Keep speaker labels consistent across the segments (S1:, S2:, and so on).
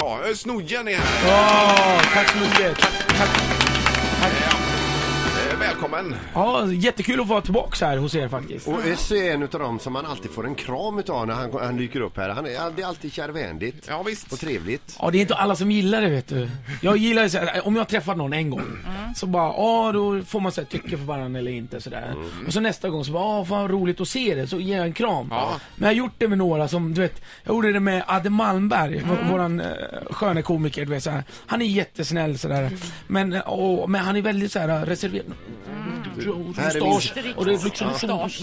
S1: Ja, eh, Snodgen är här.
S2: Ja, tack så mycket.
S1: Eh, Välkommen.
S2: Ja, jättekul att vara tillbaka här hos er faktiskt.
S3: Och Össi är en av dem som man alltid får en kram utav när han, han dyker upp här. Han är, det är alltid kärvänligt
S1: Ja, visst.
S3: och trevligt.
S2: Ja, det är inte alla som gillar det vet du. Jag gillar ju så här, om jag träffar någon en gång så bara, ja då får man säga tycke för varandra eller inte sådär. Och så nästa gång så bara, ja fan roligt att se det, så ger jag en kram.
S1: Ja.
S2: Men jag har gjort det med några som, du vet, jag gjorde det med Adde Malmberg, vå- våran eh, sköne komiker, du vet så här. Han är jättesnäll sådär. Men, eh, åh, men han är väldigt såhär reserverad.
S3: Här är min-
S2: Mustasch. Och det är liksom
S4: Mustasch,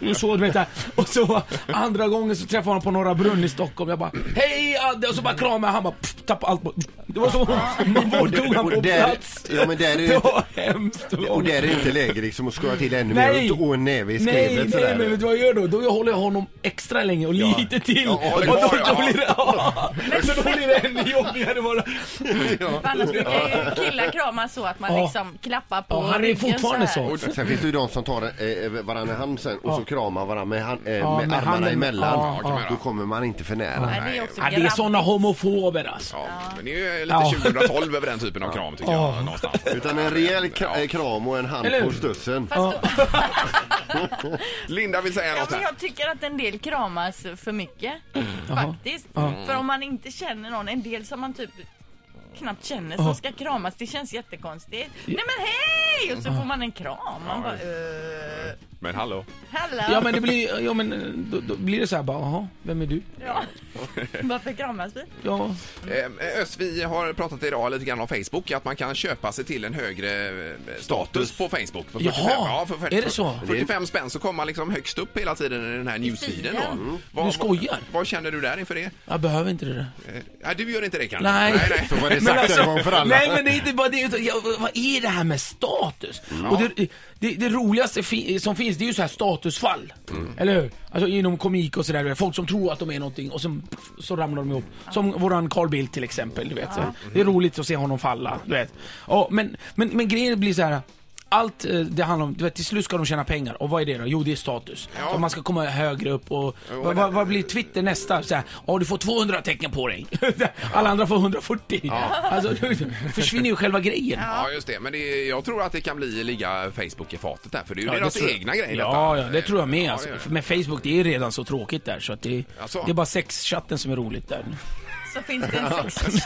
S4: ja.
S2: så, du vet där. Och så andra gången så träffade jag honom på Norra Brunn i Stockholm. Jag bara Hej Adde! Och så bara kramade jag han bara pff, tappade allt på... Det var som om man vårdtog han på
S3: och där-
S2: plats.
S3: ja, men där är det-
S2: det var hemskt.
S3: Och där är det inte läge liksom att skoja till ännu
S2: Nej!
S3: mer och och en näve i
S2: nej,
S3: skrevet
S2: nej,
S3: sådär.
S2: men vet du vad jag gör då? Då håller jag honom extra länge och lite till.
S3: Ja,
S2: och
S3: håller
S2: då,
S1: kvar, ja.
S2: då blir det... Ja. Så då blir det ännu jobbigare bara.
S4: För Annars brukar ju killar krama så att man
S2: Ja.
S4: liksom klappar på
S2: Ja, han är
S4: ryggen
S2: fortfarande
S4: här.
S2: så.
S3: Sen finns det ju de som tar eh, varandra i hand sen och så kramar varandra med, hand, eh,
S2: Ja,
S3: med,
S2: med
S3: armarna
S2: handen.
S3: emellan.
S2: Ja,
S1: ja.
S3: Då kommer man inte för nära.
S4: Nej, det är också
S2: Ja, det är
S4: grabb-
S2: såna homofober alltså.
S1: Ja, men det är ju
S2: Ja.
S1: lite 2012 över den typen av kram tycker
S2: Ja.
S1: jag. Någonstans.
S3: Utan en rejäl kra- eh,
S1: Ja.
S3: kram och en hand
S2: Eller hur?
S3: på stussen.
S4: Fast då,
S1: Linda vill säga
S4: ja,
S1: något
S4: men
S1: här.
S4: jag tycker att en del kramas för mycket.
S2: Mm.
S4: Faktiskt. För om man inte känner någon, en del som man typ knappt känner som
S2: Ja.
S4: ska kramas, det känns jättekonstigt. Nej men hej! Och så får man en kram. Man bara, eh,
S1: Men hallå.
S4: hallå?
S2: Ja men det blir, ja men eh, då, då blir det så här bara, jaha, vem är du?
S4: Ja. Varför kramas vi?
S2: Ja,
S1: Eh, Ös, vi har pratat idag lite grann om Facebook, att man kan köpa sig till en högre eh, status på Facebook. För
S2: Jaha,
S1: ja, för
S2: är det så?
S1: 45 spänn så kommer man liksom högst upp hela tiden i den här newsfeeden. Då.
S4: feeden.
S1: Vad,
S2: Du skojar.
S1: Vad känner du där inför det?
S2: jag behöver inte det där.
S1: Eh, nej, du gör inte det kanske?
S2: Nej. alltså,
S1: nej, alltså-
S3: Så var det sagt en gång för alla.
S2: Nej men det är inte bara det, utan jag, vad är det här med status? Och det, det, det roligaste fi, som finns det är ju så här statusfall.
S3: Mm.
S2: Eller hur? Alltså inom komik och sådär. Folk som tror att de är någonting och sen, pff, så ramlar de ihop. Som våran Carl Bildt till exempel. Du vet. Så Det är roligt att se honom falla. Du vet. Ja, men, men, men grejen blir så här. Allt eh, det handlar om, du vet, till slut ska de tjäna pengar och vad är det då? Jo det är status.
S1: Ja.
S2: Och man ska komma högre upp och vad, vad, vad blir Twitter nästa? Så här, ja du får 200 tecken på dig. Alla andra får 140. Alltså du, försvinner ju själva grejen.
S1: Ja, just det. Men det, är- jag tror att det kan bli ligga Facebook i fatet där, för det är ju
S2: Ja,
S1: deras
S2: det tror jag.
S1: egna grej
S2: Ja, ja,
S1: detta.
S2: det tror jag med
S1: Ja,
S2: alltså.
S1: det gör det.
S2: Men Facebook det är redan så tråkigt där så att det,
S1: Alltså.
S2: det är bara sexchatten som är roligt där.
S4: Så finns det en sex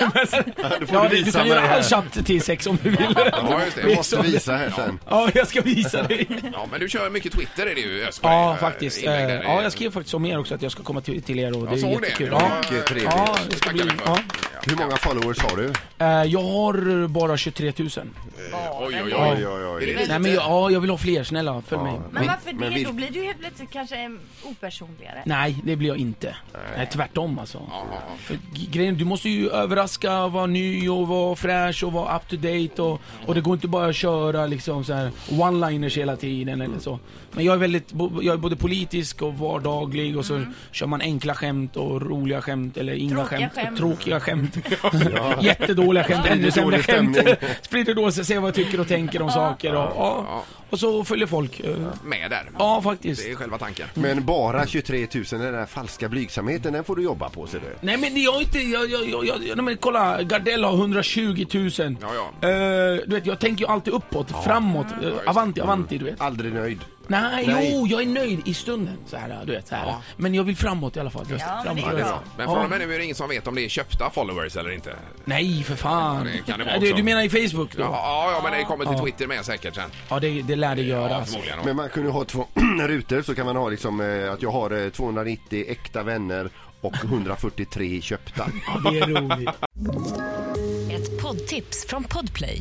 S3: Då får
S2: Ja,
S3: du
S2: du,
S3: visa
S2: kan
S3: mig
S2: göra all
S3: här.
S2: chatt till sex om du vill.
S1: Ja, just det.
S3: Jag måste visa här sen.
S2: Ja, jag ska visa dig.
S1: Ja, men du kör mycket Twitter är det ju Ösberg.
S2: liksom- Ja,
S1: Eh,
S2: faktiskt.
S1: inlägg där.
S2: Eh, Ja, jag skrev faktiskt om er också att jag ska komma till, till er och det
S1: Jag
S2: är
S1: såg det.
S2: jättekul.
S1: Det var
S2: Ja.
S3: Mycket trevligt.
S2: Ja, det ska
S1: Tackar
S2: bli...
S1: vi för.
S2: Ja.
S3: Hur många followers har du?
S2: Eh, Jag har bara 23 000.
S1: Oj, oj,
S2: Ja.
S1: oj.
S3: oj,
S1: Är det
S2: Nej, men jag, ja, jag vill ha fler, snälla följ mig.
S4: Men varför
S3: men
S4: det?
S3: vil-
S4: Då blir du helt plötsligt kanske em, opersonligare.
S2: Nej, det blir jag inte. Nej, tvärtom alltså.
S1: Ja, ja, ja.
S2: För g- Grejen, du måste ju överraska, vara ny och vara fräsch och vara up to date och, och det går inte bara att köra liksom så här one-liners hela tiden eller så. Men jag är väldigt, bo- jag är både politisk och vardaglig och så kör man enkla skämt och roliga skämt eller inga
S4: Tråkiga
S2: skämt,
S4: skämt.
S2: och tråkiga skämt. Jättedåliga skämt,
S3: Sprider
S2: ännu sämre
S3: dålig
S2: skämt.
S3: stämning.
S2: Sprider då sig, ser vad jag tycker och tänker om saker och, ja. och så följer folk. eh,
S1: Med där.
S2: Ja, faktiskt.
S1: Det är själva tanken.
S3: Men bara 23 000, den där falska blygsamheten, den får du jobba på ser du.
S2: Nej men det- jag är inte, jag, jag, jag, jag, nej, men kolla, Gardell har 120 000.
S1: Ja, ja.
S2: Eh, du vet, jag tänker ju alltid uppåt, framåt, eh, avanti, avanti, du vet.
S3: Aldrig nöjd.
S2: Nej,
S3: Nej.
S2: jo, jag är nöjd i stunden, så här, du vet, så här. Men jag vill framåt i alla fall. Just,
S4: Ja, men
S2: framåt,
S4: det är
S2: du vet.
S4: bra.
S1: Men från och med nu är det ingen som vet om det är köpta followers eller inte.
S2: Nej, för fan.
S1: det kan det vara
S2: du,
S1: också.
S2: du menar i Facebook då?
S1: Ja,
S2: Ja,
S1: ja, ja men det kommer till Twitter med säkert sen.
S2: det, det lär det göra.
S1: Ja,
S2: alltså.
S1: förmodligen.
S3: Men man kunde ha två rutor så kan man ha liksom eh, att jag har eh, 290 äkta vänner och 143 köpta.
S2: Det är roligt.
S5: Ett poddtips från Podplay.